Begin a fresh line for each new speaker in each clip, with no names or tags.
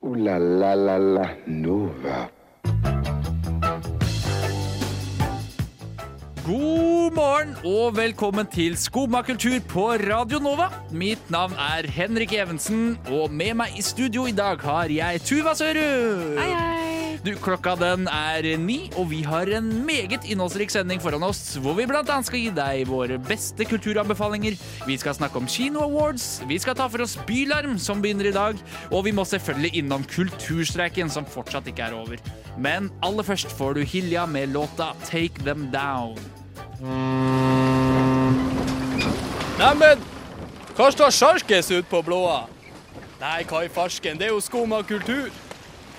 Ooh la la la la Nova.
God morgen og velkommen til Skomakultur på Radio Nova. Mitt navn er Henrik Evensen, og med meg i studio i dag har jeg Tuva Sørud.
Hei, hei.
Du, klokka den er ni, og vi har en meget innholdsrik sending foran oss, hvor vi blant annet skal gi deg våre beste kulturanbefalinger, vi skal snakke om Kino Awards, vi skal ta for oss Bylarm, som begynner i dag, og vi må selvfølgelig innom kulturstreiken, som fortsatt ikke er over. Men aller først får du Hilja med låta Take Them Down.
Neimen, hva står sjarkes ut på blåa? Nei, hva i farsken, det er jo skum av kultur.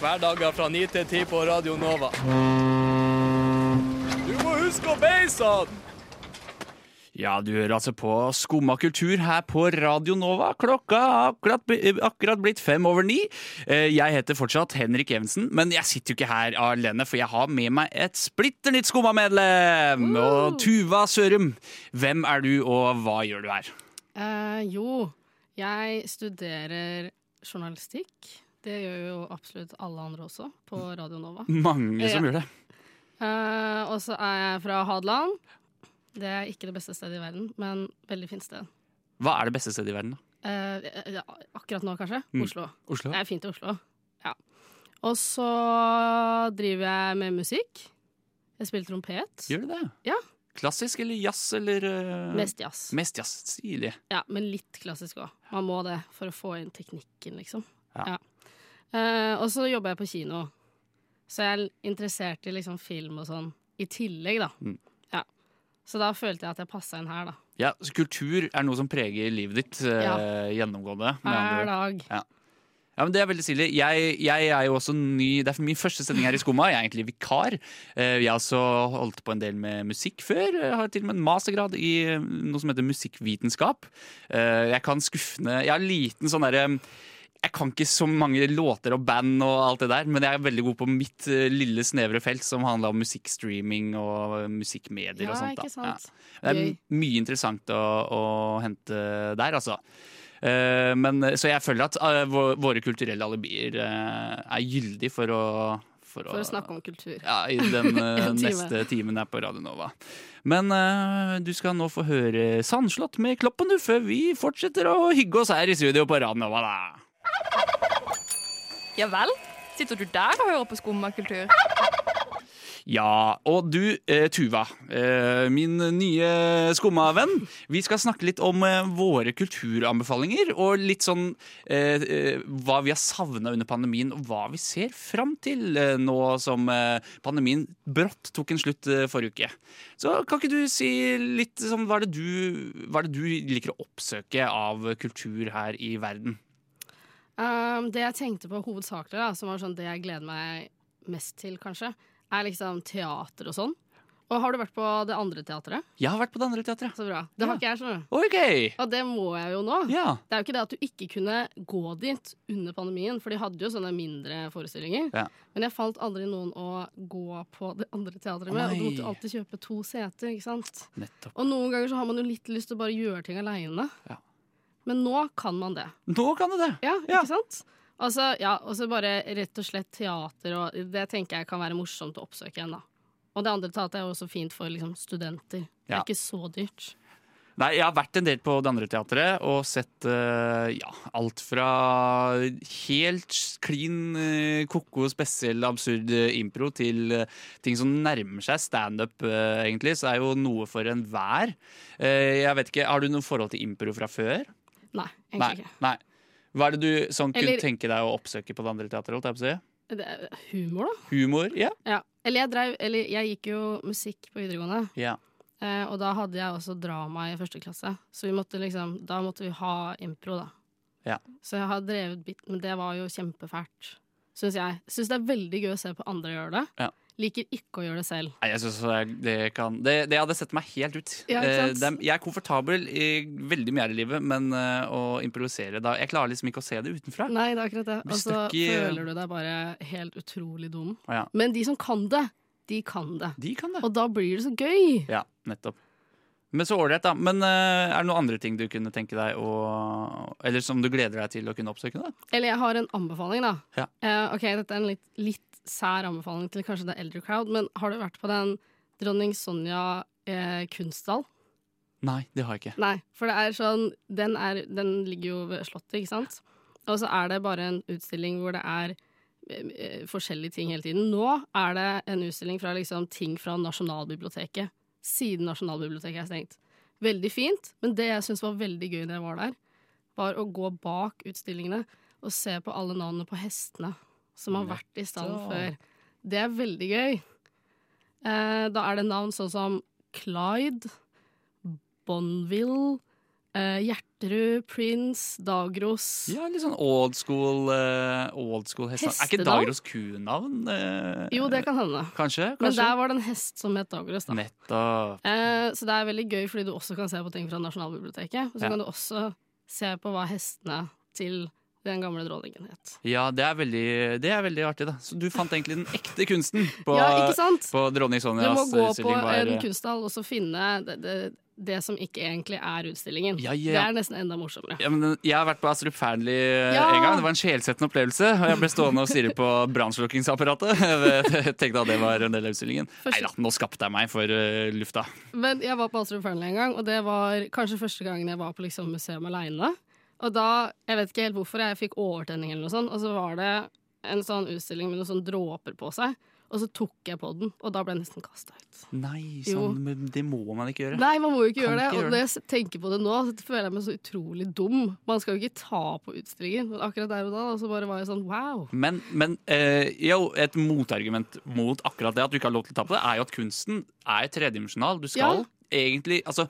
Hverdager fra 9 til 10 på Radio Nova. Du må huske å beise den!
Ja, du hører altså på Skumma kultur her på Radio Nova. Klokka har akkurat, bli- eh, akkurat blitt fem over ni. Eh, Jeg heter fortsatt Henrik Evensen, men jeg sitter jo ikke her alene, for jeg har med meg et splitter nytt Skumma-medlem! Og Tuva Sørum, hvem er du, og hva gjør du her?
Eh, jo, jeg studerer journalistikk. Det gjør jo absolutt alle andre også, på Radio Nova.
Mange som
Ja.
gjør det.
Eh, og så er jeg fra Hadeland. Det er ikke det beste stedet i verden, men veldig fint sted.
Hva er det beste stedet i verden, da?
Eh, ja, akkurat nå, kanskje.
Mm.
Oslo.
Oslo?
Det er fint i Oslo. Ja. Og så driver jeg med musikk. Jeg spiller trompet.
Gjør du det?
Ja.
Klassisk eller jazz eller eh,
Mest jazz.
Mest jazz. Stilig.
Ja, men litt klassisk òg. Man må det for å få inn teknikken, liksom.
Ja.
Ja. Eh, og så jobber jeg på kino, så jeg er interessert i liksom film og sånn i tillegg, da.
Mm.
Ja. Så da følte jeg at jeg passa inn her, da.
Ja, så kultur er noe som preger livet ditt eh,
Ja. Eh,
gjennomgående. med andre ord.
Hver dag.
Ja, men Det er veldig stilig. Jeg, jeg er jo også ny Det er min første sending her i Skumma. Jeg er egentlig vikar. Eh, Jeg har også holdt på en del med musikk før. Jeg har til og med en mastergrad i eh, noe som heter musikkvitenskap. Eh, Jeg kan skuffende Jeg har en liten sånn derre jeg kan ikke så mange låter og band, og alt det der, men jeg er veldig god på mitt eh, lille snevre felt, som handla om musikkstreaming og eh, musikkmedier. og
Ja,
sånt da.
ikke sant.
Det er
Gøy.
m- mye interessant å, å hente der, altså. Eh, men, så jeg føler at eh, vå- våre kulturelle alibier eh, er gyldig for å
For å snakke om kultur.
Ja, i den eh,
En time.
neste timen her på Radio Nova. Men eh, du skal nå få høre Sandslott med Kloppen, du, før vi fortsetter å hygge oss her i studio på Radio Nova, da.
Ja vel? Sitter du der og hører på skummakultur?
Ja, og du, eh, Tuva, eh, min nye skummavenn. Vi skal snakke litt om eh, våre kulturanbefalinger, og litt sånn eh, eh, hva vi har savna under pandemien, og hva vi ser fram til eh, nå som eh, pandemien brått tok en slutt eh, forrige uke. Så kan ikke du si litt sånn, hva er, det du, hva er det du liker å oppsøke av kultur her i verden?
Um, det jeg tenkte på hovedsakelig, da, som var sånn det jeg gleder meg mest til, kanskje, er liksom teater og sånn. Og har du vært på det andre teatret?
Jeg har vært på det andre teatret.
Så bra. Det
Ja.
har ikke jeg, skjønner du.
OK!
Og det må jeg jo nå.
Ja.
Det er jo ikke det at du ikke kunne gå dit under pandemien, for de hadde jo sånne mindre forestillinger.
Ja.
Men jeg fant aldri noen å gå på det andre teatret med, og du
Nei.
måtte alltid kjøpe to seter. ikke sant?
Nettopp.
Og noen ganger så har man jo litt lyst til å bare gjøre ting aleine.
Ja.
Men nå kan man det.
Nå kan du det!
Ja,
Ja.
ikke sant? Altså, ja, og så bare rett og slett teater, og det tenker jeg kan være morsomt å oppsøke igjen, da. Og det andre teatret er jo også fint for liksom, studenter. Det
Ja.
er ikke så dyrt.
Nei, jeg har vært en del på Det andre teatret og sett eh, ja, alt fra helt klin uh, koko, spesiell, absurd eh, impro til eh, ting som nærmer seg standup, uh, egentlig. Så det er jo noe for enhver. Eh, jeg vet ikke, Har du noe forhold til impro fra før?
Nei, egentlig
Nei.
ikke.
nei. Hva er det du sånn, kunne
Eller-
tenke deg å oppsøke på Det andre teatret? holdt jeg på å si?
Det er humor, da.
Humor? Ja.
Ja. Eller jeg, drev, eller jeg gikk jo musikk på videregående,
ja.
eh, og da hadde jeg også drama i første klasse. Så vi måtte liksom, da måtte vi ha impro, da.
Ja.
Så jeg har drevet bit, men det var jo kjempefælt, syns jeg. Syns det er veldig gøy å se på andre gjøre det.
Ja.
Liker ikke å gjøre det selv.
Nei, jeg synes det, det kan det, det hadde sett meg helt ut.
Ja, ikke
Eh,
sant?
det, er- jeg er komfortabel i veldig mye her i livet, men eh, å improvisere da Jeg klarer liksom ikke å se det utenfra.
Nei, det er akkurat det.
Blir
Og så
stuck i-
føler du deg bare helt utrolig dum.
Å ja.
Men de som kan det, de kan det.
De kan det.
Og da blir det så gøy!
Ja, nettopp. Men så ålreit, da. Men eh, er det noen andre ting du kunne tenke deg å Eller som du gleder deg til å kunne oppsøke? da?
Eller jeg har en anbefaling, da.
Ja.
Eh, ok, Dette er en litt, litt sær anbefaling til kanskje det eldre crowd, men har du vært på den Dronning Sonja eh, kunsthall?
Nei, det har jeg ikke.
Nei, for det er sånn den, er, den ligger jo ved Slottet, ikke sant? Og så er det bare en utstilling hvor det er eh, forskjellige ting hele tiden. Nå er det en utstilling fra liksom ting fra Nasjonalbiblioteket. Siden Nasjonalbiblioteket er stengt. Veldig fint, men det jeg syns var veldig gøy da jeg var der, var å gå bak utstillingene og se på alle navnene på hestene som har vært i stand før. Det er veldig gøy. Eh, da er det navn sånn som Clyde, Bonville, eh, Hjerterud, Prince, Dagros.
Ja, Litt sånn old school, eh, old school hestene. Er ikke
Hestedal?
Dagros kunavn? eh,
Jo, det kan hende.
Kanskje?
Men
kanskje?
der var det en hest som het Dagros. Da.
Nettopp.
Eh, så det er veldig gøy, fordi du også kan se på ting fra Nasjonalbiblioteket. Og så
Ja.
kan du også se på hva hestene til den gamle dronningen het.
Ja, det er, veldig, det er veldig artig, da. Så du fant egentlig den ekte kunsten på,
ja, ikke sant?
på dronning
Du må
Sonjas
gå på
utstilling? var-
en kunsthall og så finne det, det, det som ikke egentlig er utstillingen.
Ja, ja.
Det er nesten enda morsommere.
Ja, men jeg har vært på Astrup Fearnley eh,
Ja!
en gang. Det var en sjelsettende opplevelse. Og jeg ble stående og stirre på brannslukningsapparatet. Jeg Tenkte at det var en del av utstillingen. Nei da, nå skapte jeg meg for eh, lufta.
Men jeg var på Astrup Fearnley en gang, og det var kanskje første gangen jeg var på liksom museum aleine. Og da, jeg vet ikke helt hvorfor, jeg fikk overtenning eller noe sånt, og så var det en sånn utstilling med noen sånne dråper på seg, og så tok jeg på den, og da ble jeg nesten kasta ut.
Nei,
Jo.
sånn, men det må man ikke gjøre.
Nei, man må jo ikke
Kan
gjøre det,
ikke gjøre
og når jeg s- tenker på det nå, så føler jeg meg så utrolig dum. Man skal jo ikke ta på utstillingen, men akkurat der og da, og så bare var jeg sånn wow.
Men, men eh, jo, et motargument mot akkurat det at du ikke har lov til å ta på det, er jo at kunsten er tredimensjonal. Du skal
Ja.
egentlig Altså,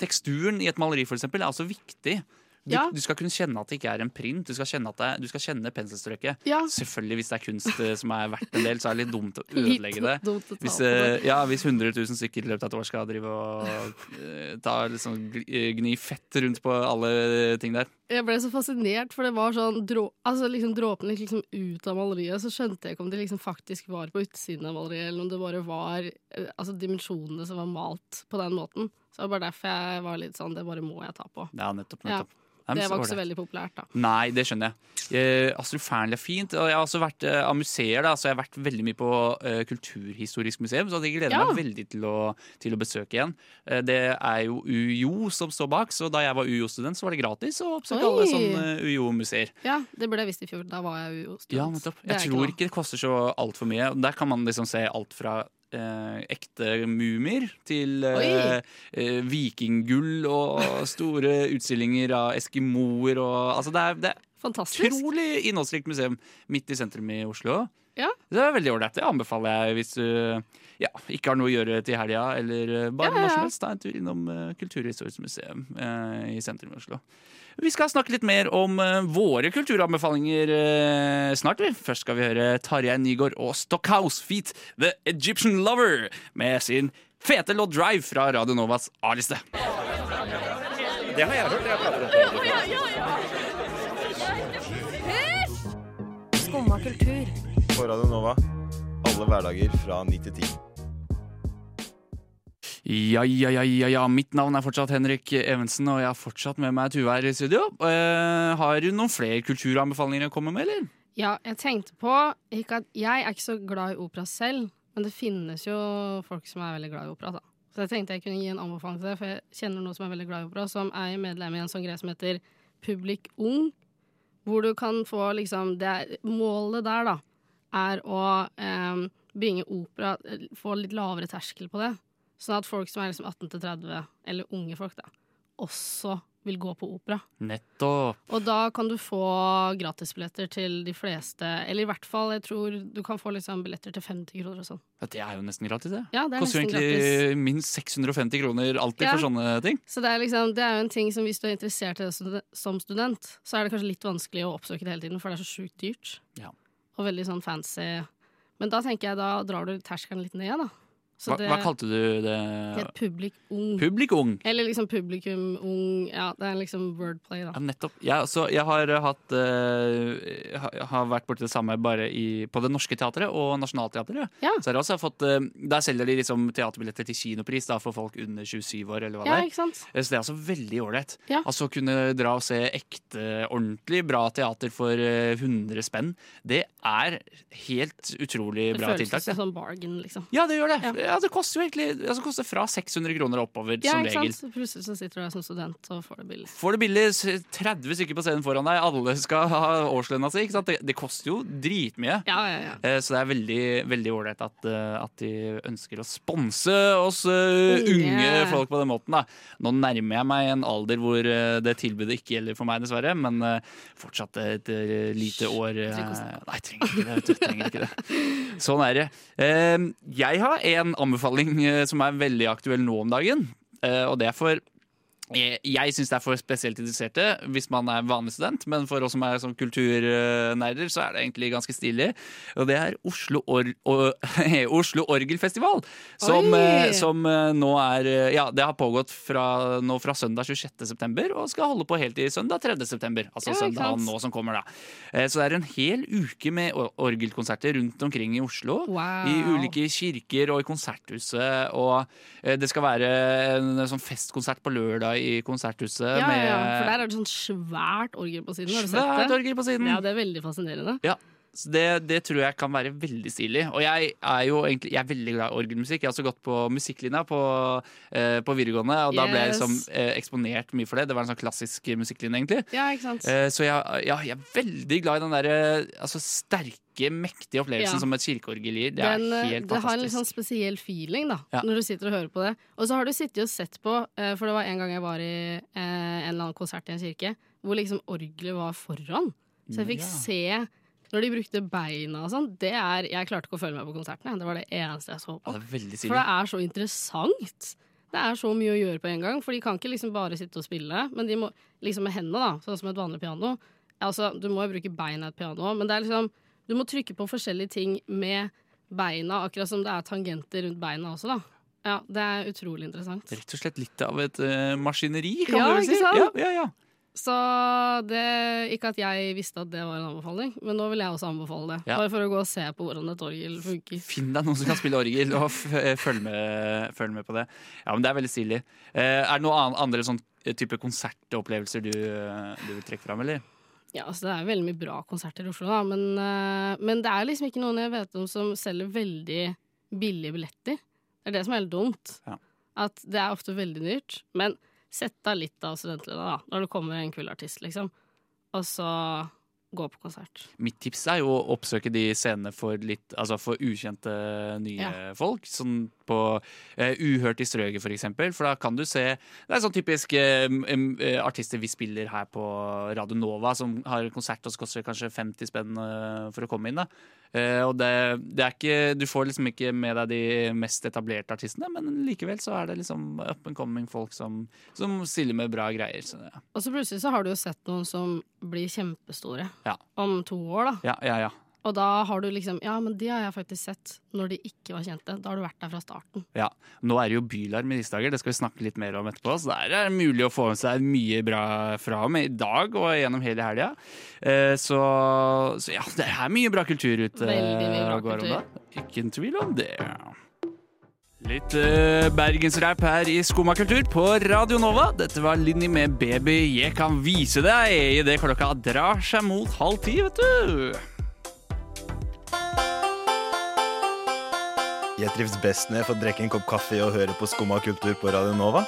teksturen i et maleri, for eksempel, er også viktig. Du,
Ja.
du skal kunne kjenne at det ikke er en print. Du skal kjenne, at det er, du skal kjenne penselstrøket.
Ja.
Selvfølgelig, hvis det er kunst eh, som er verdt en del, så er det litt dumt å
Litt
ødelegge det.
dumt å ta
Hvis,
på
eh,
det.
ja, hvis 100 000 stykker i løpet av et år skal drive og eh, ta, liksom, gl- eh, gni fett rundt på alle ting der.
Jeg ble så fascinert, for det var sånn drå, altså liksom Dråpen gikk liksom ut av maleriet, så skjønte jeg ikke om de liksom faktisk var på utsiden av maleriet, eller om det bare var eh, altså dimensjonene som var malt på den måten. Så det var bare derfor jeg var litt sånn Det bare må jeg ta på.
Ja, nettopp.
Ja.
nettopp. Nei, men
Det
så
var
går
ikke
det.
så veldig populært, da.
Nei, det skjønner jeg. Eh, Astrup Fearnley er fint. Og jeg har også vært eh, av museer, da, så jeg har vært veldig mye på eh, Kulturhistorisk museum. Så jeg gleder
Ja.
meg veldig til å, til å besøke igjen. Eh, det er jo UiO som står bak, så da jeg var UiO-student, så var det gratis å oppsøke
Oi.
alle sånne eh, UiO-museer.
Ja, Det burde jeg visst i fjor. Da var jeg jo student.
Ja, nettopp.
Det er
Jeg tror
noe.
ikke det koster så altfor mye. Der kan man liksom se alt fra eh, ekte mumier til eh, eh, vikinggull og store utstillinger av eskimoer og Altså, det er, det er
Fantastisk.
Utrolig innholdsrikt museum midt i sentrum i Oslo.
Ja.
Det er veldig ålreit. Det anbefaler jeg hvis du ja, ikke har noe å gjøre til helga, eller eh, bare
Ja, ja,
når som
ja.
helst. Ta en tur innom eh, Kulturhistorisk museum eh, i sentrum i Oslo. Vi skal snakke litt mer om eh, våre kulturanbefalinger eh, snart. vi. Først skal vi høre Tarjei Nygaard og Stockhouse Feet, The Egyptian Lover, med sin fete låt Drive fra Radio Novas A-liste.
Skumma kultur.
på Radio Nova. Alle hverdager fra 9 til 10.
Ja, ja, ja, ja, ja. Mitt navn er fortsatt Henrik Evensen, og jeg har fortsatt med meg Tuva her i studio. Eh, har du noen flere kulturanbefalinger å komme med, eller?
Ja, jeg tenkte på ikke at Jeg er ikke så glad i opera selv, men det finnes jo folk som er veldig glad i opera. da. Så jeg tenkte jeg kunne gi en anbefaling til deg, for jeg kjenner noen som er veldig glad i opera, som er medlem i en sånn greie som heter Public Ung, hvor du kan få liksom det er, Målet der, da, er å eh, bringe opera eh, Få litt lavere terskel på det, sånn at folk som er liksom 18 til 30, eller unge folk, da, også vil gå på opera.
Nettopp.
Og da kan du få gratisbilletter til de fleste, eller i hvert fall, jeg tror du kan få liksom billetter til 50 kroner og sånn.
Ja, Det er jo nesten gratis, det.
Ja, det er
Koster jo
nesten
egentlig
gratis.
minst 650 kroner alltid
Ja.
for sånne ting.
Så det er, liksom, det er jo en ting som hvis du er interessert i det som- som student, så er det kanskje litt vanskelig å oppsøke det hele tiden, for det er så sjukt dyrt.
Ja.
Og veldig sånn fancy. Men da tenker jeg, da drar du terskelen litt ned, da. Så
Hva,
det
hva kalte du det?
het Public Ung.
Publik ung.
Eller liksom Publikum Ung. Ja, det er liksom wordplay, da.
Ja, nettopp. Ja, så jeg har eh, hatt eh, ha- Har vært borti det samme bare i, på Det Norske Teatret og Nationaltheatret.
Ja.
Så har jeg også fått, eh, der selger de liksom teaterbilletter til kinopris da, for folk under 27 år. eller hva
Ja,
det er.
ikke sant?
Så det er altså veldig ålreit.
Ja.
Altså kunne dra og se ekte, ordentlig bra teater for eh, 100 spenn. Det er helt utrolig
Det
bra
føles
tiltak.
som
Det.
sånn bargain, liksom.
Ja, det gjør det.
Ja.
Ja. det koster jo egentlig altså, det koster fra 600 kroner og oppover,
Ja,
som
ikke sant?
regel.
Så plutselig så sitter du der som student og får det billig.
Får det billig, s- 30 stykker på scenen foran deg, alle skal ha årslønna si. Ikke sant? Det, det koster jo dritmye.
Ja, ja, ja.
Eh, Så det er veldig veldig ålreit at, eh, at de ønsker å sponse oss eh,
Unge.
unge folk på den måten. Da. Nå nærmer jeg meg en alder hvor eh, det tilbudet ikke gjelder for meg, dessverre. Men eh, fortsatt et eh, lite år eh,
trenger ikke å snakke
Nei, trenger ikke det. vet du, Trenger ikke det. Sånn er det. Eh, Jeg har en anbefaling eh, som er veldig aktuell nå om dagen, eh, og det er for jeg, jeg syns det er for spesielt interesserte hvis man er vanlig student, men for oss som er som kulturnerder, så er det egentlig ganske stilig. Og det er Oslo, Or og- Oslo Orgelfestival, som,
Oi!
eh, som eh, nå er eh, Ja, det har pågått fra, nå fra søndag 26.9 og skal holde på helt til søndag 3.9. Altså
Ja, ikke
søndagen
sant?
nå som kommer, da. Eh, Så det er en hel uke med or- orgelkonserter rundt omkring i Oslo.
Wow.
I ulike kirker og i konserthuset. Og eh, det skal være en sånn festkonsert på lørdag i konserthuset.
Ja, ja, ja, for der
med
er det sånn svært orgel på siden. Har du
svært
sett det?
orgel på siden.
Ja, det er veldig fascinerende.
Ja, så det, det tror jeg kan være veldig stilig. Og jeg er jo egentlig jeg er veldig glad i orgelmusikk. Jeg har også gått på musikklinja på, eh, på videregående, og da ble jeg
Yes.
liksom, eh, eksponert mye for det. Det var en sånn klassisk musikklinje, egentlig.
Ja, ikke sant?
Eh, Så jeg, ja, jeg er veldig glad i den der eh, altså, sterke, mektige opplevelsen
Ja.
som et kirkeorgel gir. Det
Den,
er
eh,
helt
det har en litt
fantastisk.
sånn spesiell feeling da,
Ja.
når du sitter og hører på det. Og så har du sittet og sett på, eh, for det var en gang jeg var i eh, en eller annen konsert i en kirke, hvor liksom orgelet var foran. Så jeg fikk
Ja.
se når de brukte beina og sånn. Det er, jeg klarte ikke å følge med på konsertene. Det var det eneste jeg
Ja,
så på.
det er veldig
For det
stilig.
er så interessant. Det er så mye å gjøre på en gang, for de kan ikke liksom bare sitte og spille. Men de må liksom med hendene, da, sånn som et vanlig piano. Altså, du må jo bruke beina i et piano òg, men det er liksom Du må trykke på forskjellige ting med beina, akkurat som det er tangenter rundt beina også, da. Ja, det er utrolig interessant.
Rett og slett litt av et eh, maskineri, kan
Ja,
du vel si.
ikke sant?
Ja, ja, ja.
Så det Ikke at jeg visste at det var en anbefaling, men nå vil jeg også anbefale det.
Ja.
Bare for å gå og se på hvordan et orgel funker.
Finn deg noen som kan spille orgel, og f eh, følg, med, følg med på det. Ja, men Det er veldig stilig. Eh, er det noen an- andre sånn type konsertopplevelser du, eh, du vil trekke fram, eller?
Ja, altså Det er veldig mye bra konserter i Oslo, da, men, eh, men det er liksom ikke noen jeg vet om som selger veldig billige billetter. Det er det som er helt dumt.
Ja.
At det er ofte veldig dyrt. Men sett av litt av studentlønna, da, når det kommer en kul artist, liksom. Og så gå på konsert.
Mitt tips er jo å oppsøke de scenene for, litt, altså for ukjente nye folk. Sånn på eh, Uhørt i Strøget, for eksempel. For da kan du se Det er sånn typisk eh, em, eh, artister vi spiller her på Radio Nova, som har konsert og så koster det kanskje 50 spenn eh, for å komme inn. da Eh, og det, det er ikke, du får liksom ikke med deg de mest etablerte artistene, men likevel så er det liksom up and coming folk som, som stiller med bra greier. Så, ja.
Og så plutselig så har du jo sett noen som blir kjempestore
Ja.
om to år, da.
ja, ja, ja.
Og da har du liksom Ja, men de har jeg faktisk sett når de ikke var kjente. Da har du vært der fra starten.
Ja, Nå er det jo bylarm i disse dager, det skal vi snakke litt mer om etterpå. Så der er det mulig å få med seg mye bra fra med i dag og gjennom hele helga. Eh, så, så ja, det er mye bra kultur ute
Veldig mye bra
og går om
kultur.
da. Ikke en tvil om det. Litt eh, bergensrap her i Skumma kultur på Radio Nova. Dette var Linni med 'Baby, jeg kan vise deg' idet klokka drar seg mot halv ti, vet du.
Jeg trives best når jeg får drikke en kopp kaffe og høre på Skumma kultur på Radio Nova.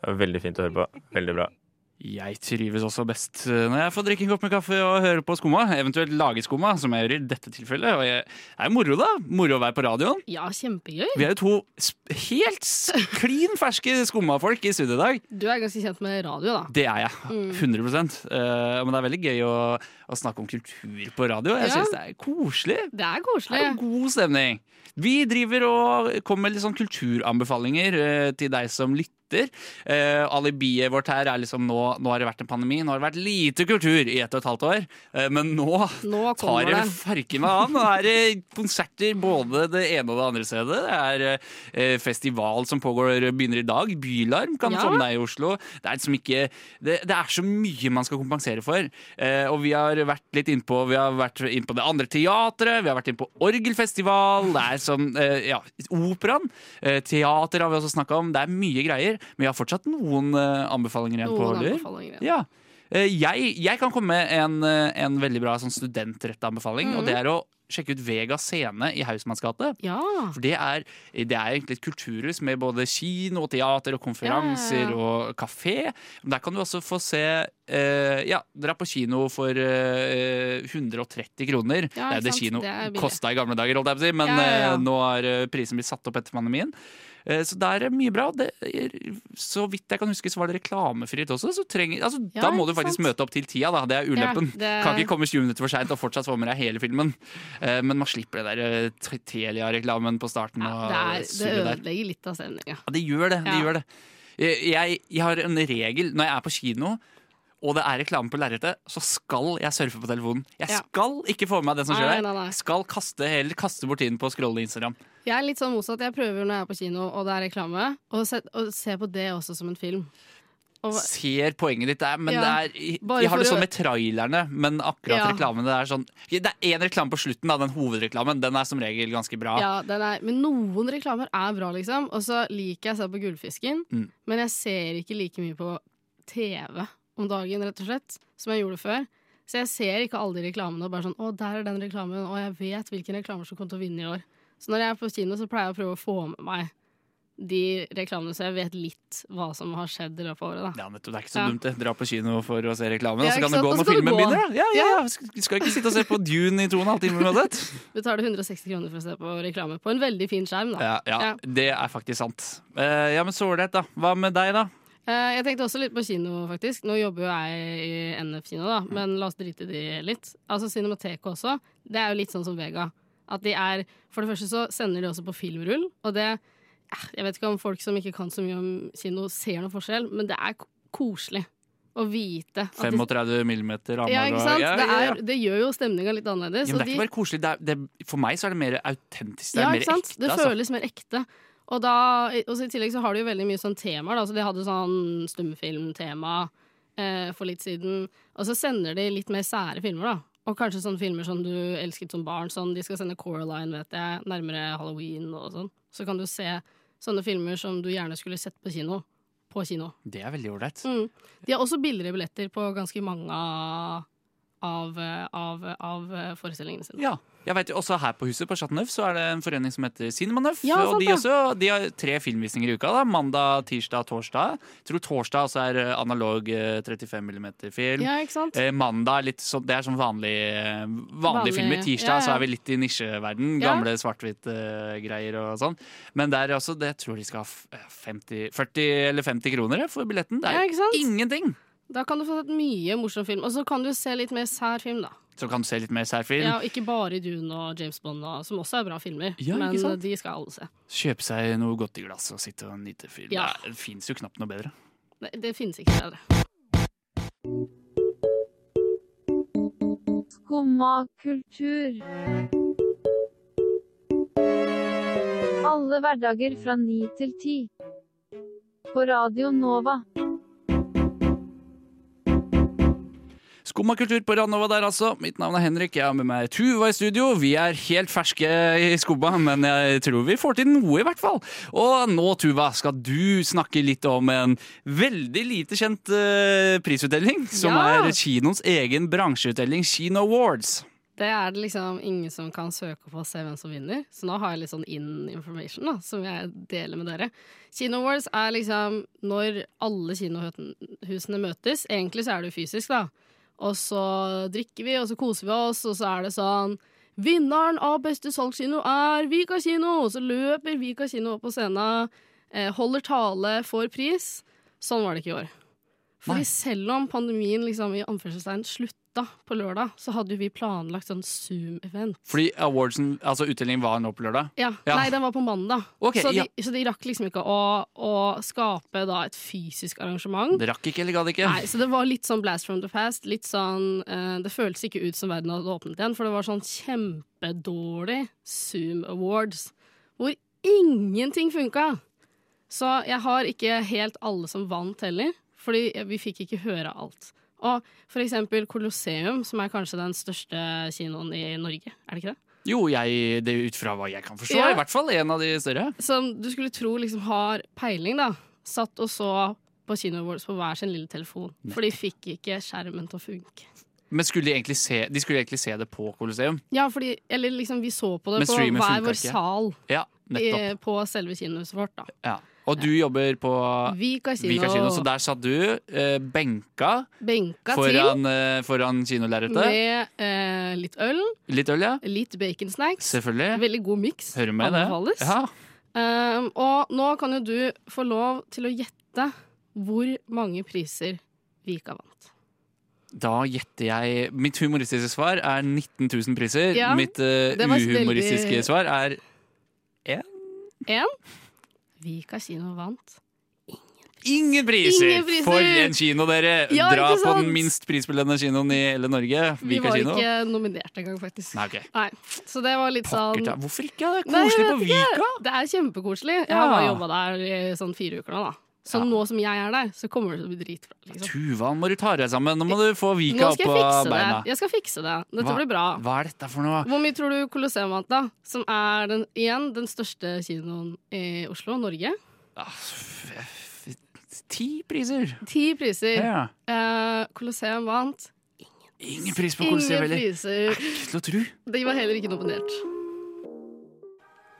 Det er Veldig fint å høre på. Veldig bra.
Jeg trives også best eh, når jeg får drikke en kopp med kaffe og høre på skumma. Eventuelt lage skumma, som jeg gjør i dette tilfellet. Og jeg, det er jo moro, da. Moro å være på radioen.
Ja, kjempegøy.
Vi er jo to sp- helt s- klin ferske skummafolk i studio i dag.
Du er ganske kjent med radio, da.
Det er jeg. 100 Eh, Men det er veldig gøy å, å snakke om kultur på radio. Jeg
Ja.
syns det er koselig.
Det er
Det
koselig.
er jo god stemning. Vi driver og kommer med litt sånn kulturanbefalinger eh, til deg som lytter etter. Eh, alibiet vårt her er liksom nå, nå har det vært en pandemi, nå har det vært lite kultur i ett og et halvt år. Eh, men nå
Nå
tar
kommer
det
det.
farken meg an. Nå er det konserter både det ene og det andre stedet. Det er eh, festival som pågår, begynner i dag. Bylarm kan du
Ja.
få med deg i Oslo. Det er, liksom ikke, det, det er så mye man skal kompensere for. Eh, og vi har vært litt innpå Vi har vært innpå det andre teatret, vi har vært innpå orgelfestival, det er som eh, ja, operaen. Eh, teater har vi også snakka om. Det er mye greier. Men vi har fortsatt noen eh, anbefalinger igjen på
Noen
lur.
anbefalinger. igjen.
Ja. Eh, Jeg, jeg kan komme med en, eh, en veldig bra sånn studentretteanbefaling. Og det er å sjekke ut Vega scene i Hausmanns gate.
Ja.
For det er, det er egentlig et kulturhus med både kino og teater og konferanser
Ja, ja, ja.
og kafé. Der kan du også få se eh, Ja, dra på kino for eh, 130 kroner.
Ja,
det er jo det
ikke sant?
kino
Det er billig.
kosta i gamle dager, holdt jeg på å si, men
Ja, ja, ja.
eh, nå er eh, prisen blitt satt opp etter pandemien. Eh, Så der er mye bra. Det er, så vidt jeg kan huske, så var det reklamefritt også. Så trenger, altså,
Ja,
da må du
ikke
faktisk
sant?
møte opp til tida, da. Det er ulempen.
Ja, det-
Kan ikke komme 20 minutter for seint og fortsatt få med deg hele filmen. Eh, Men man slipper det der eh, T- Telia-reklamen på starten.
Ja,
og
det, er, det
surret der.
ødelegger litt av stemninga.
Ja, det gjør det. det,
Ja.
gjør det. Jeg, jeg- jeg har en regel når jeg er på kino og det er reklame på lerretet, så skal jeg surfe på telefonen. Jeg
Ja.
skal ikke få med meg det som skjer
Nei,
der.
nei, nei.
Jeg Skal kaste, heller kaste bort tiden på å scrolle Instagram.
Jeg er litt sånn motsatt. Jeg prøver når jeg er på kino og det er reklame, å se, å se på det også som en film. Og,
Ser poenget ditt der, men
Ja,
det er jeg,
bare
jeg har det
for å-
sånn med trailerne, men akkurat
Ja.
reklamene det er sånn Det er én reklame på slutten, da, den hovedreklamen. Den er som regel ganske bra.
ja, den er, men noen reklamer er bra, liksom. Og så liker jeg å se på Gullfisken,
Mm.
men jeg ser ikke like mye på TV om dagen, rett og slett, som jeg gjorde før. Så jeg ser ikke alle de reklamene og bare sånn 'Å, der er den reklamen', og jeg vet hvilken reklame som kommer til å vinne i år. Så når jeg er på kino, så pleier jeg å prøve å få med meg de reklamene, så jeg vet litt hva som har skjedd i løpet av året, da.
Ja, nettopp, det er ikke så
Ja.
dumt det. Dra på kino for å se reklamen,
Ja,
og så kan
ikke
du
sant?
gå
Og så
når
kan du
filmen
gå.
begynner. da. Ja, ja, ja. Sk- Skal ikke sitte og se på Dune i to og en halv time. med det.
Betaler 160 kroner for å se på reklame på en veldig fin skjerm, da.
Ja, ja, det er faktisk sant. Eh, ja, men så ålreit, da. Hva med deg, da?
Eh, Jeg tenkte også litt på kino, faktisk. Nå jobber jo jeg i NF kino, da, men la oss drite i de litt. Altså Cinemateket også. Det er jo litt sånn som Vega. At de er For det første så sender de også på filmrull, og det eh, Jeg vet ikke om folk som ikke kan så mye om kino, ser noen forskjell, men det er ko- koselig å vite at de
35 millimeter?
ja,
Amager
ikke
og-
sant?
Ja,
Det,
ja, ja.
er, det gjør jo stemninga litt annerledes.
Ja, men det er ikke
og de-
bare koselig. Det er, det, for meg så er det mer autentisk. Det er
ja,
mer
ikke sant?
ekte.
det
altså.
føles mer ekte. Og, da, og så I tillegg så har de jo veldig mye sånn temaer. Da. Så de hadde sånn stumfilmtema eh, for litt siden. Og så sender de litt mer sære filmer, da. Og kanskje sånne filmer som du elsket som barn. Sånn, de skal sende Coraline, vet jeg, nærmere halloween og sånn. Så kan du se sånne filmer som du gjerne skulle sett på kino. På kino.
altså. Det er veldig ålreit.
Mm. De har også billigere billetter på ganske mange av, av, av, av eh, forestillingene sine.
Ja. Jeg vet, jo, også her på huset på Chateau Neuf så er det en forening som heter Cinemanøff.
Ja,
og
sant
de,
det.
også, de har tre filmvisninger i uka. da Mandag, tirsdag, torsdag. Jeg tror torsdag også er eh, analog eh, 35 mm-film.
Ja, ikke sant?
Eh, mandag er litt sånn, det er sånn vanlig, eh, vanlig
Vanlig,
film. I tirsdag
ja, ja.
så er vi litt i nisjeverden.
Ja.
Gamle svart-hvitt-greier og sånn. Men der også, det tror jeg de skal ha f- eh, 50, 40 eller 50 kroner eh, for billetten. Det
Ja,
er
ikke sant?
ingenting!
Da kan du få sett mye morsom film. Og så kan du se litt mer sær film, da.
Så kan du se litt mer særfilm.
Ja, og ikke bare Dune og James Bond, og, som også er bra filmer.
Ja, ikke
men
sant?
de skal alle se.
Kjøpe seg noe godt i glass og sitte og nyte film.
Ja.
Det er- Det fins jo knapt noe bedre.
Det, det finnes ikke bedre.
Skumma kultur. Alle hverdager fra ni til ti. På Radio Nova.
Skumma kultur på Randova der, altså. Mitt navn er Henrik. Jeg har med meg Tuva i studio. Vi er helt ferske i skumma, men jeg tror vi får til noe, i hvert fall. Og nå, Tuva, skal du snakke litt om en veldig lite kjent eh, prisutdeling, som
Ja.
er kinoens egen bransjeutdeling, Kino Awards.
Det er det liksom ingen som kan søke på og se hvem som vinner. Så nå har jeg litt sånn in information, da, som jeg deler med dere. Kino Awards er liksom når alle kinohusene møtes. Egentlig så er det jo fysisk, da. Og så drikker vi, og så koser vi oss, og så er det sånn Vinneren av beste salgskino er Vika kino! Og så løper Vika kino opp på scenen, eh, holder tale, får pris. Sånn var det ikke i år. Fordi
Nei.
selv om pandemien liksom, i anførselstegn slutta natta på lørdag så hadde jo vi planlagt sånn Zoom-event.
Fordi awardsen, altså utdelingen var nå på lørdag?
Ja.
Ja.
Nei, den var på mandag.
Ok,
så, de,
ja.
så de rakk liksom ikke å, å skape da et fysisk arrangement.
Det rakk ikke, eller gadd ikke?
Nei, så det var litt sånn blast from the past. Litt sånn, eh, det føltes ikke ut som verden hadde åpnet igjen, for det var sånn kjempedårlig Zoom Awards hvor ingenting funka. Så jeg har ikke helt alle som vant heller, fordi vi fikk ikke høre alt. Og for eksempel Colosseum, som er kanskje den største kinoen i Norge, er det ikke det?
Jo, jeg, det er ut fra hva jeg kan forstå,
Ja.
i hvert fall en av de større.
som du skulle tro liksom har peiling, da, satt og så på Kino Awards på hver sin lille telefon. For de fikk ikke skjermen til å funke.
Men skulle de egentlig se, de skulle egentlig se det på Colosseum?
Ja, fordi, eller liksom, vi så på det
Men
på
streamen
hver
funka
vår
ikke.
sal
Ja, nettopp.
i, på selve kinohuset vårt, da.
Ja. Og du jobber på
Vika kino,
Vika kino, så der satt du eh, benka
benka til
foran, eh, foran kinolerretet.
med eh, litt øl,
Litt øl, ja.
litt baconsnacks.
Selvfølgelig.
Veldig god miks.
Hører med det.
Anbefales.
Ja.
Um, og nå kan jo du få lov til å gjette hvor mange priser Vika vant.
Da gjetter jeg Mitt humoristiske svar er 19 000 priser.
Ja,
mitt eh,
det var
uhumoristiske
veldig-
svar er
Vika kino vant
ingen priser!
Ingen priser!
For en kino, dere!
Ja,
Dra
ikke
på
sant?
den minst prisbelønnede kinoen i hele Norge.
Vi
Vika
var
kino.
ikke nominert engang, faktisk.
Nei, ok.
Nei, Så det var litt
Pokker
sånn
ta. Hvorfor ikke? Det er
Nei, jeg
koselig på
vet ikke.
Vika.
Det er kjempekoselig. Jeg
Ja.
har bare jobba der i sånn fire uker nå, da. Så
Ja.
nå som jeg er der, så kommer det til å bli dritbra. Liksom.
Tuva, nå må du ta deg sammen. Nå må du få Vika
Nå
opp
skal jeg
på
fikse det.
beina.
Jeg skal fikse det. Dette
Hva-
blir bra.
Hva er dette for noe?
Hvor mye tror du Colosseum vant, da? Som er den, igjen den største kinoen i Oslo, Norge.
Ah, f- f- f- Ti priser.
Ti priser.
Ja.
Eh, Colosseum vant.
Ingen pris på Colosseum
Ingen
heller.
priser.
Ikke til å tro.
De var heller ikke nominert.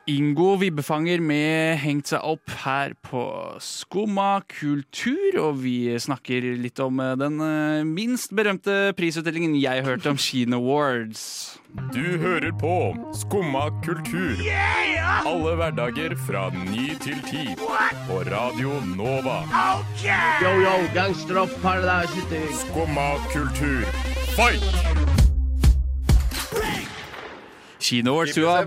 Ingo Vibbefanger med hengt seg opp her på Skumma kultur, og vi snakker litt om eh, den eh, minst berømte prisutdelingen jeg hørte om, Kino Awards.
Du hører på Skumma kultur. Alle hverdager fra ni til ti. På Radio Nova. Skumma kultur. Fight!
Kino Awards, Tuva.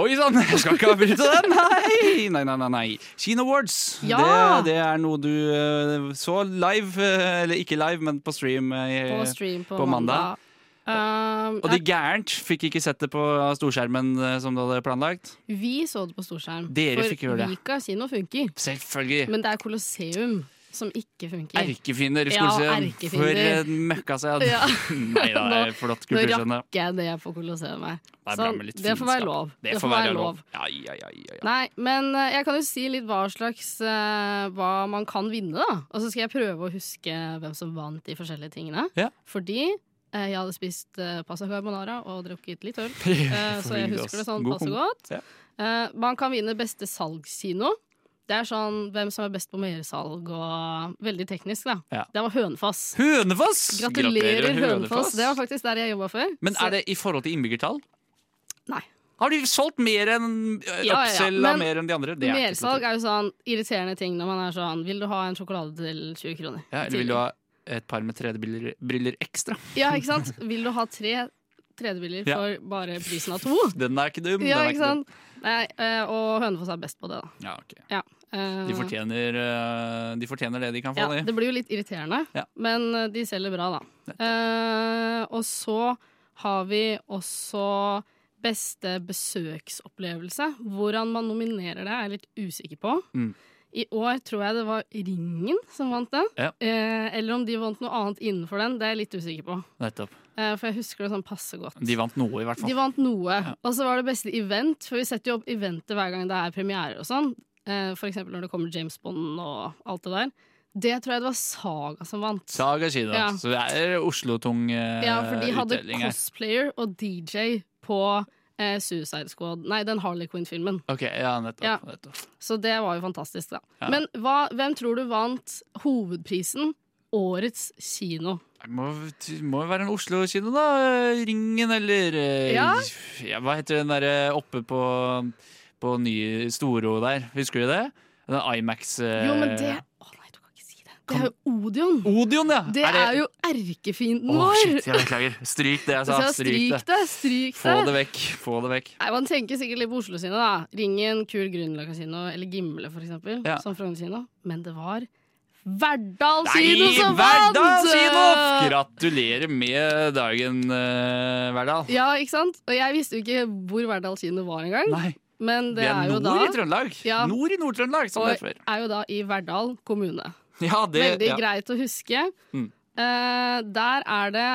Oi sann, jeg skal ikke avbryte den! Nei, nei, nei. nei, nei. Kino Awards,
Ja!
det, det er noe du eh, så live, eh, eller ikke live, men på stream. eh,
På stream på,
På mandag.
mandag. Eh,
Og de gærent fikk ikke sett det på storskjermen eh, som du hadde planlagt.
Vi så det på storskjerm.
Dere
for
fikk gjøre det.
Vika kino funker.
Selvfølgelig.
Men det er Colosseum som ikke funker.
Erkefiender i
Ja,
Skolsøen.
erkefinder.
For en møkkasæd.
Ja.
Nei da, det er flott
Nå
kulturskjønne.
rakk jeg det på Colosseum her.
Det er bra
Så
med litt
det får være
fiendskap.
lov.
Det får være lov. Ja, ja, ja, ja, ja.
Nei, men eh, jeg kan jo si litt hva slags eh, Hva man kan vinne, da. Og så skal jeg prøve å huske hvem som vant de forskjellige tingene.
Ja.
Fordi eh, jeg hadde spist eh, pasta carbonara og drukket litt øl. Eh, Så jeg
Fornøyd,
husker det
ass.
sånn
God
passe
kom-
godt.
Ja.
Eh, Man kan vinne beste salgskino. Det er sånn hvem som er best på mersalg og eh, Veldig teknisk, da.
Ja.
Det var Hønefoss.
Hønefoss!
Gratulerer, Hønefoss. Det var faktisk der jeg jobba før.
Men
Så-
er det i forhold til innbyggertall?
Nei.
Har de solgt mer enn
ja, ja.
Oppselga
Men
mer enn de andre? Det er ikke til å
Mersalg
tro.
er jo sånn irriterende ting når man er sånn Vil du ha en sjokolade til 20 kroner?
ja, Eller vil du ha et par med 3D-briller briller ekstra?
Ja, ikke sant? Vil du ha tre tredjebiler
Ja.
for bare prisen av to?
Den er ikke dum.
Ja,
den er
ikke sant? Nei, eh, og Hønefoss er best på det, da.
dum. Ja, ok.
Eh,
de, fortjener, eh, de fortjener det de kan få.
ja,
de.
det blir jo litt irriterende,
Ja.
men eh, de selger bra, da. Eh, og så har vi også beste besøksopplevelse. Hvordan man nominerer det, er jeg litt usikker på.
Mm.
I år tror jeg det var Ringen som vant den.
Ja.
Eh, eller om de vant noe annet innenfor den, det er jeg litt usikker på.
Nettopp.
Eh, for jeg husker det sånn passe godt.
De vant noe, i hvert fall.
De vant noe. Og så var det beste event, for vi setter jo opp eventet hver gang det er premiere og sånn. Eh, For eksempel når det kommer James Bond og alt det der. Det tror jeg det var Saga som vant.
Saga Kino.
Ja.
Så det er Oslo-tung uh,
ja, for de hadde
utdeling her.
cosplayer og DJ på eh, Suicide Squad. Nei, den Harley Quinn-filmen.
Ok, ja, nettopp.
Ja.
nettopp.
Så det var jo fantastisk, da.
Ja.
Men hva, hvem tror du vant hovedprisen? Årets kino.
Det må, det må jo være en Oslo-kino, da. Ringen, eller eh,
Ja.
ja, Hva heter den derre oppe på, på Nye Storo der? Husker du det? Den IMAX eh,
Jo, men det Å nei, du kan ikke si det. Det er jo Odion.
Odion, ja!
Det er jo erkefienden
Å,
vår!
shit, jeg beklager. Stryk det jeg
Så
sa.
jeg sa,
Stryk det.
stryk det, stryk
Få det
det.
vekk. Få det vekk.
Nei, Man tenker sikkert litt på Oslo sine, da. Ringen, Kur Grünerløkka kino, eller Gimle for eksempel,
Ja.
som Frogner kino. Men det var Verdal kino
Nei,
som vant!
Verdal Kino! Gratulerer med dagen, eh, Verdal.
Ja, ikke sant? Og jeg visste jo ikke hvor Verdal kino var engang.
Nei,
Men det,
vi er
er jo
nord
da
i Trøndelag.
Ja.
Nord i Nord-Trøndelag, som
Og
det het før.
er jo da i Verdal kommune.
Ja, det,
Veldig
ja.
greit å huske.
Mm.
Eh, der er det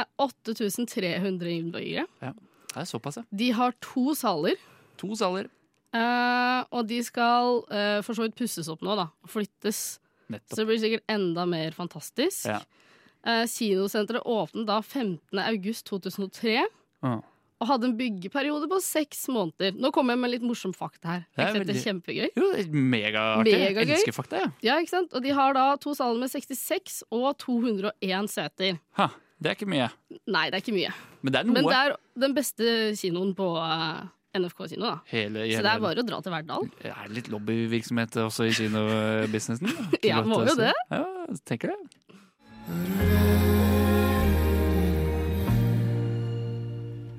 8300 innbyggere.
det er såpass, ja.
De har to saler.
To saler.
Eh, og de skal eh, for så vidt pusses opp nå, da. og Flyttes. Så
Nettopp.
det blir sikkert enda mer fantastisk.
Ja.
Eh, kinosenteret åpnet da 15. august 2003.
Ja.
Og hadde en byggeperiode på seks måneder. Nå kommer jeg med litt morsom fakta her.
Det er
Jeg synes det er kjempegøy.
Jo, det er megaartig. Jeg
Megagøy.
elsker fakta, ja.
Ja, ikke sant? Og de har da to saler med 66 og 201 seter.
Ha, det er ikke mye,
Nei, det er ikke mye.
men det er
Men
noe.
det er den beste kinoen på eh, NRK kino, da.
Hele,
Så
hele,
det er bare å dra til Verdal.
Er det litt lobbyvirksomhet også i kinobusinessen?
Ja, må jo det.
Ja, jeg tenker det.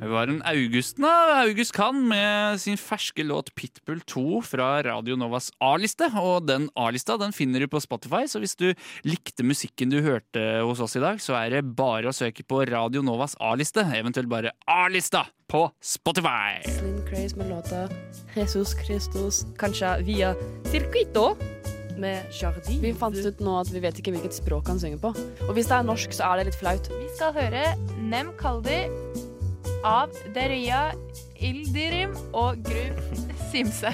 Det var en Augusten da, August Kahn med sin ferske låt Pitbull 2 fra Radio Novas A-liste. Og den A-lista den finner du på Spotify, så hvis du likte musikken du hørte hos oss i dag, så er det bare å søke på Radio Novas A-liste, eventuelt bare A-lista, på Spotify.
Slim Craze med låta Jesus Christus, kanskje via Circuito med Jardin. Vi fant ut nå at vi vet ikke hvilket språk han synger på. Og hvis det er norsk, så er det litt flaut.
Vi skal høre Nem Kaldi av Deria Ildirim og Grub Simse.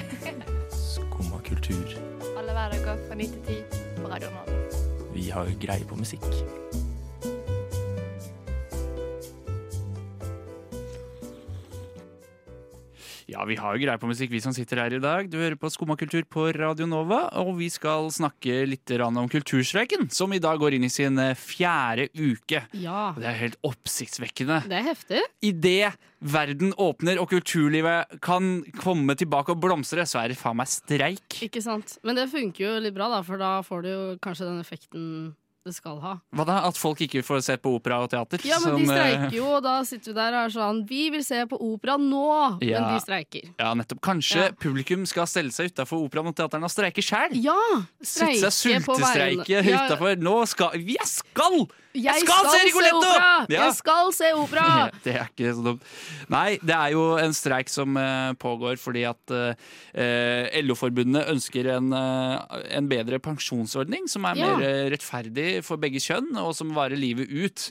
Skumma kultur.
Alle hverdager fra 9 til 10 på Radio Nova.
Vi har jo greie på musikk.
Ja, vi har jo greie på musikk, vi som sitter her i dag. Du hører på Skumma kultur på Radio Nova, og vi skal snakke litt grann om kulturstreiken, som i dag går inn i sin eh, fjerde uke.
Ja.
Og Det er helt oppsiktsvekkende.
Det er heftig.
Idet verden åpner og kulturlivet kan komme tilbake og blomstre, så er det faen meg streik.
Ikke sant? Men det funker jo litt bra, da, for da får du jo kanskje den effekten det skal ha.
Hva da? At folk ikke får se på opera og teater?
Ja,
som,
men de
eh,
streiker jo, og da sitter vi der og er sånn Vi vil se på opera nå! Men
Ja.
de streiker.
Ja, nettopp. Kanskje
Ja.
publikum skal stelle seg utafor operaen og teateren og streike sjæl?
Ja!
Sitte seg
streike på vegne-
sultestreike
Ja.
utafor. Nå skal Jeg skal!
Jeg,
skal se Rigoletto!
opera!
Ja.
Jeg skal se opera!
Det er ikke så dumt. Nei, det er jo en streik som eh, pågår fordi at eh, LO-forbundet ønsker en, eh, en bedre pensjonsordning som er
Ja.
mer eh, rettferdig for begge kjønn, og som varer livet ut.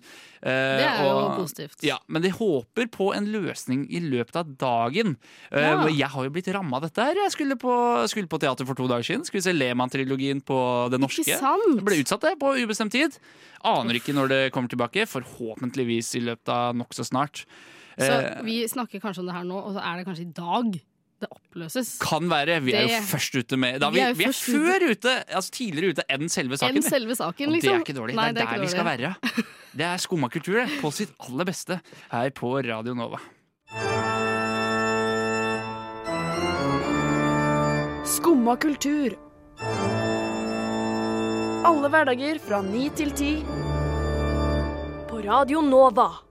Eh,
Det er jo
og-
positivt.
Ja, men de håper på en løsning i løpet av dagen. Eh,
Ja.
hvor Jeg har jo blitt ramma av dette her. Jeg skulle på, skulle på teater for to dager siden. Skulle se Lehmann-trilogien på Det Norske.
Ikke sant?
Det ble utsatt det på ubestemt tid. Aner ikke når det kommer tilbake. Forhåpentligvis i løpet av nokså snart.
Så
Eh,
vi snakker kanskje om det her nå, og så er det kanskje i dag det oppløses.
kan være. Vi er jo
Det-
først ute med da,
Vi
vi,
er jo
vi er
først ute.
før ute, altså tidligere ute enn selve saken.
Enn
vi.
selve saken,
Og det
liksom.
er ikke dårlig.
Nei,
det er der
ikke
vi skal
dårlig.
være. Det er skumma kultur det, på sitt aller beste her på Radio Nova.
Skumma kultur. Alle hverdager fra ni til ti. På Radio Nova.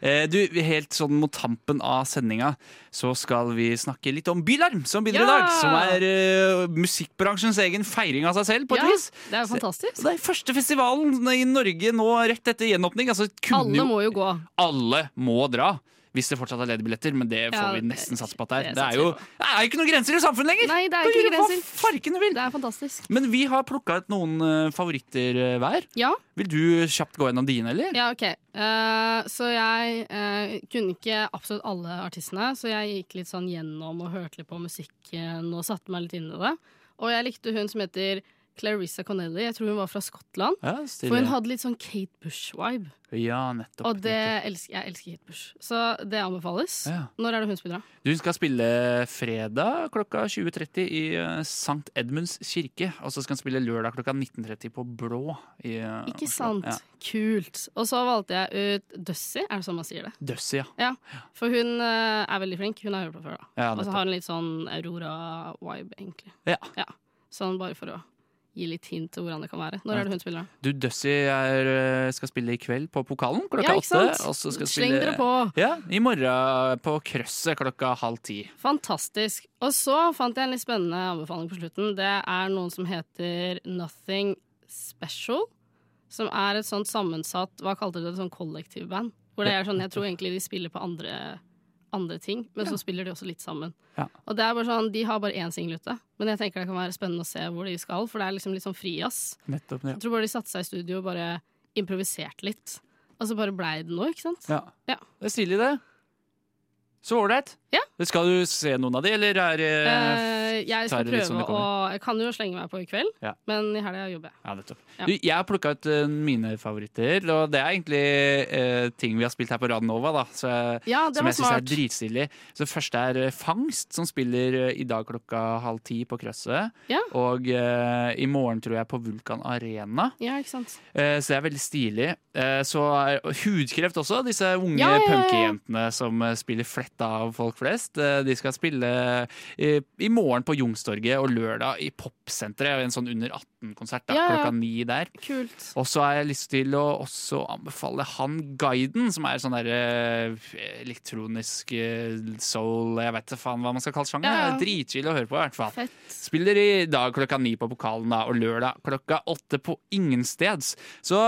Eh, du, Helt sånn mot tampen av sendinga så skal vi snakke litt om Bylarm, som begynner i
Ja!
dag. Som er eh, musikkbransjens egen feiring av seg selv, på et
Ja,
vis.
det er jo fantastisk.
Så det er første festivalen i Norge nå rett etter gjenåpning. Altså, kunne
Alle må jo gå.
jo alle må dra. Hvis det fortsatt er ledige billetter, men det får
Ja,
vi nesten satse på at det er.
det
Det er
satser
jo
vi på.
det er jo ikke noen grenser i samfunnet lenger!
Nei, det er
Du
ikke
gjør
grenser.
Hva farken du vil.
Det er fantastisk.
Men vi har plukka ut noen eh, favoritter eh, hver.
Ja,
Vil du kjapt gå gjennom dine, eller?
ja ok. Eh, så jeg eh, kunne ikke absolutt alle artistene, så jeg gikk litt sånn gjennom og hørte litt på musikken og satte meg litt inn i det. Og jeg likte hun som heter Clarissa Connelly. Jeg tror hun var fra Skottland.
Ja, stilig.
for hun hadde litt sånn Kate Bush-vibe.
Ja, nettopp.
Og det elsker, jeg elsker Kate Bush. Så det anbefales.
Ja.
Når er det hun spiller, da?
Du skal spille fredag klokka 20.30 i eh, St. Edmunds kirke. Og så skal han spille lørdag klokka 19.30 på Blå. I, eh,
Ikke
Oslo.
sant?
Ja.
Kult. Og så valgte jeg ut Dussie, er det sånn man sier det?
Døssi, ja.
Ja, For hun eh, er veldig flink. Hun har jeg hørt på før, da.
Ja,
og
nettopp.
så har hun litt sånn Aurora-vibe, egentlig.
Ja.
Sånn bare for å gi litt hint til hvordan det kan være. Når er det hun spiller, da?
Du, Døssi er, eh, skal spille i kveld på Pokalen klokka
Ja, ikke
åtte.
sant?
og så skal
Sleng
spille-
dere på.
Ja, I morgen på Krøsset klokka halv ti.
Fantastisk. Og så fant jeg en litt spennende anbefaling på slutten. Det er noen som heter Nothing Special. Som er et sånt sammensatt Hva kalte du det? Sånn kollektivband. Hvor det er sånn, Jeg tror egentlig de spiller på andre, andre ting, men så spiller de også litt sammen.
Ja.
Og det er bare sånn, De har bare én singel ute, men jeg tenker det kan være spennende å se hvor de skal, for det er liksom litt sånn frijazz.
Nettopp, ja.
Jeg tror bare de satte seg i studio og bare improviserte litt. Og så bare blei det noe, ikke sant?
Ja.
Ja.
Det er stilig, det. Så ålreit.
Ja.
Skal du se noen av de, eller er eh,
Eh,
tar
jeg skal
det litt
prøve
som det
å
kommer?
Jeg kan jo slenge meg på i kveld,
Ja.
men i helga jobber jeg.
Ja, nettopp.
Ja.
Du, jeg har plukka ut eh, mine favoritter, og det er egentlig eh, ting vi har spilt her på Radio Nova, da, så,
Ja, det
som
var
jeg syns er
smart.
dritstilig. Så det første er eh, Fangst, som spiller eh, i dag klokka halv ti på Krøsset.
Ja.
Og eh, i morgen, tror jeg, på Vulkan Arena.
Ja, ikke sant?
Eh, Så det er veldig stilig. Eh, Så er og hudkreft også, disse unge
Ja, ja, ja, ja.
punkejentene som eh, spiller fletta av folk flest. Eh, De skal spille i, i morgen på Jungstorget og lørdag i Popsenteret. En sånn under 18-konsert da,
Ja, ja.
klokka ni der.
Kult.
Og så har jeg lyst til å også anbefale han guiden, som er sånn der eh, elektronisk eh, soul Jeg vet da faen hva man skal kalle sjangeren.
Ja, ja.
Det er Dritkjedelig å høre på, i hvert fall.
Fett.
Spiller i dag klokka ni på pokalen, da, og lørdag klokka åtte på ingensteds. Så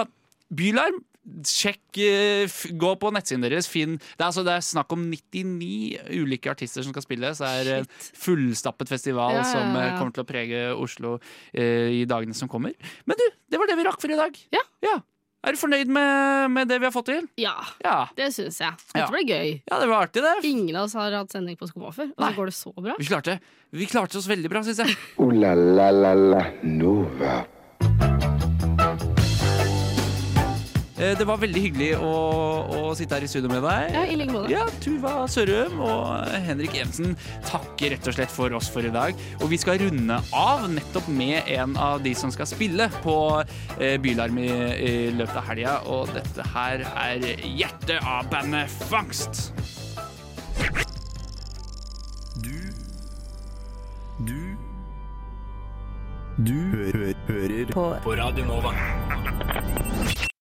Bylarm Sjekk, eh, f- Gå på nettsiden deres. Finn. Det, er, altså, det er snakk om 99 ulike artister som skal spille. Så det er eh, fullstappet festival
Ja, ja,
som eh,
ja.
kommer til å prege Oslo eh, i dagene som kommer. Men du, det var det vi rakk for i dag.
Ja.
Er du fornøyd med, med det vi har fått til?
Ja,
Ja.
det syns jeg.
Ja.
Dette ble gøy.
Ja, det var artig, det.
Ingen av oss har hatt sending på Skumma før, og så går det så bra.
Vi klarte, vi klarte oss veldig bra, syns jeg.
Ooh la la la la Nova.
Eh, Det var veldig hyggelig å, å sitte her i studio med deg.
Ja, i like måte.
Ja, Tuva Sørum og Henrik Evensen takker rett og slett for oss for i dag. Og vi skal runde av nettopp med en av de som skal spille på eh, Bylarm i, i løpet av helga. Og dette her er hjertet av bandet Fangst.
Du hø hø hører på. på Radio Nova.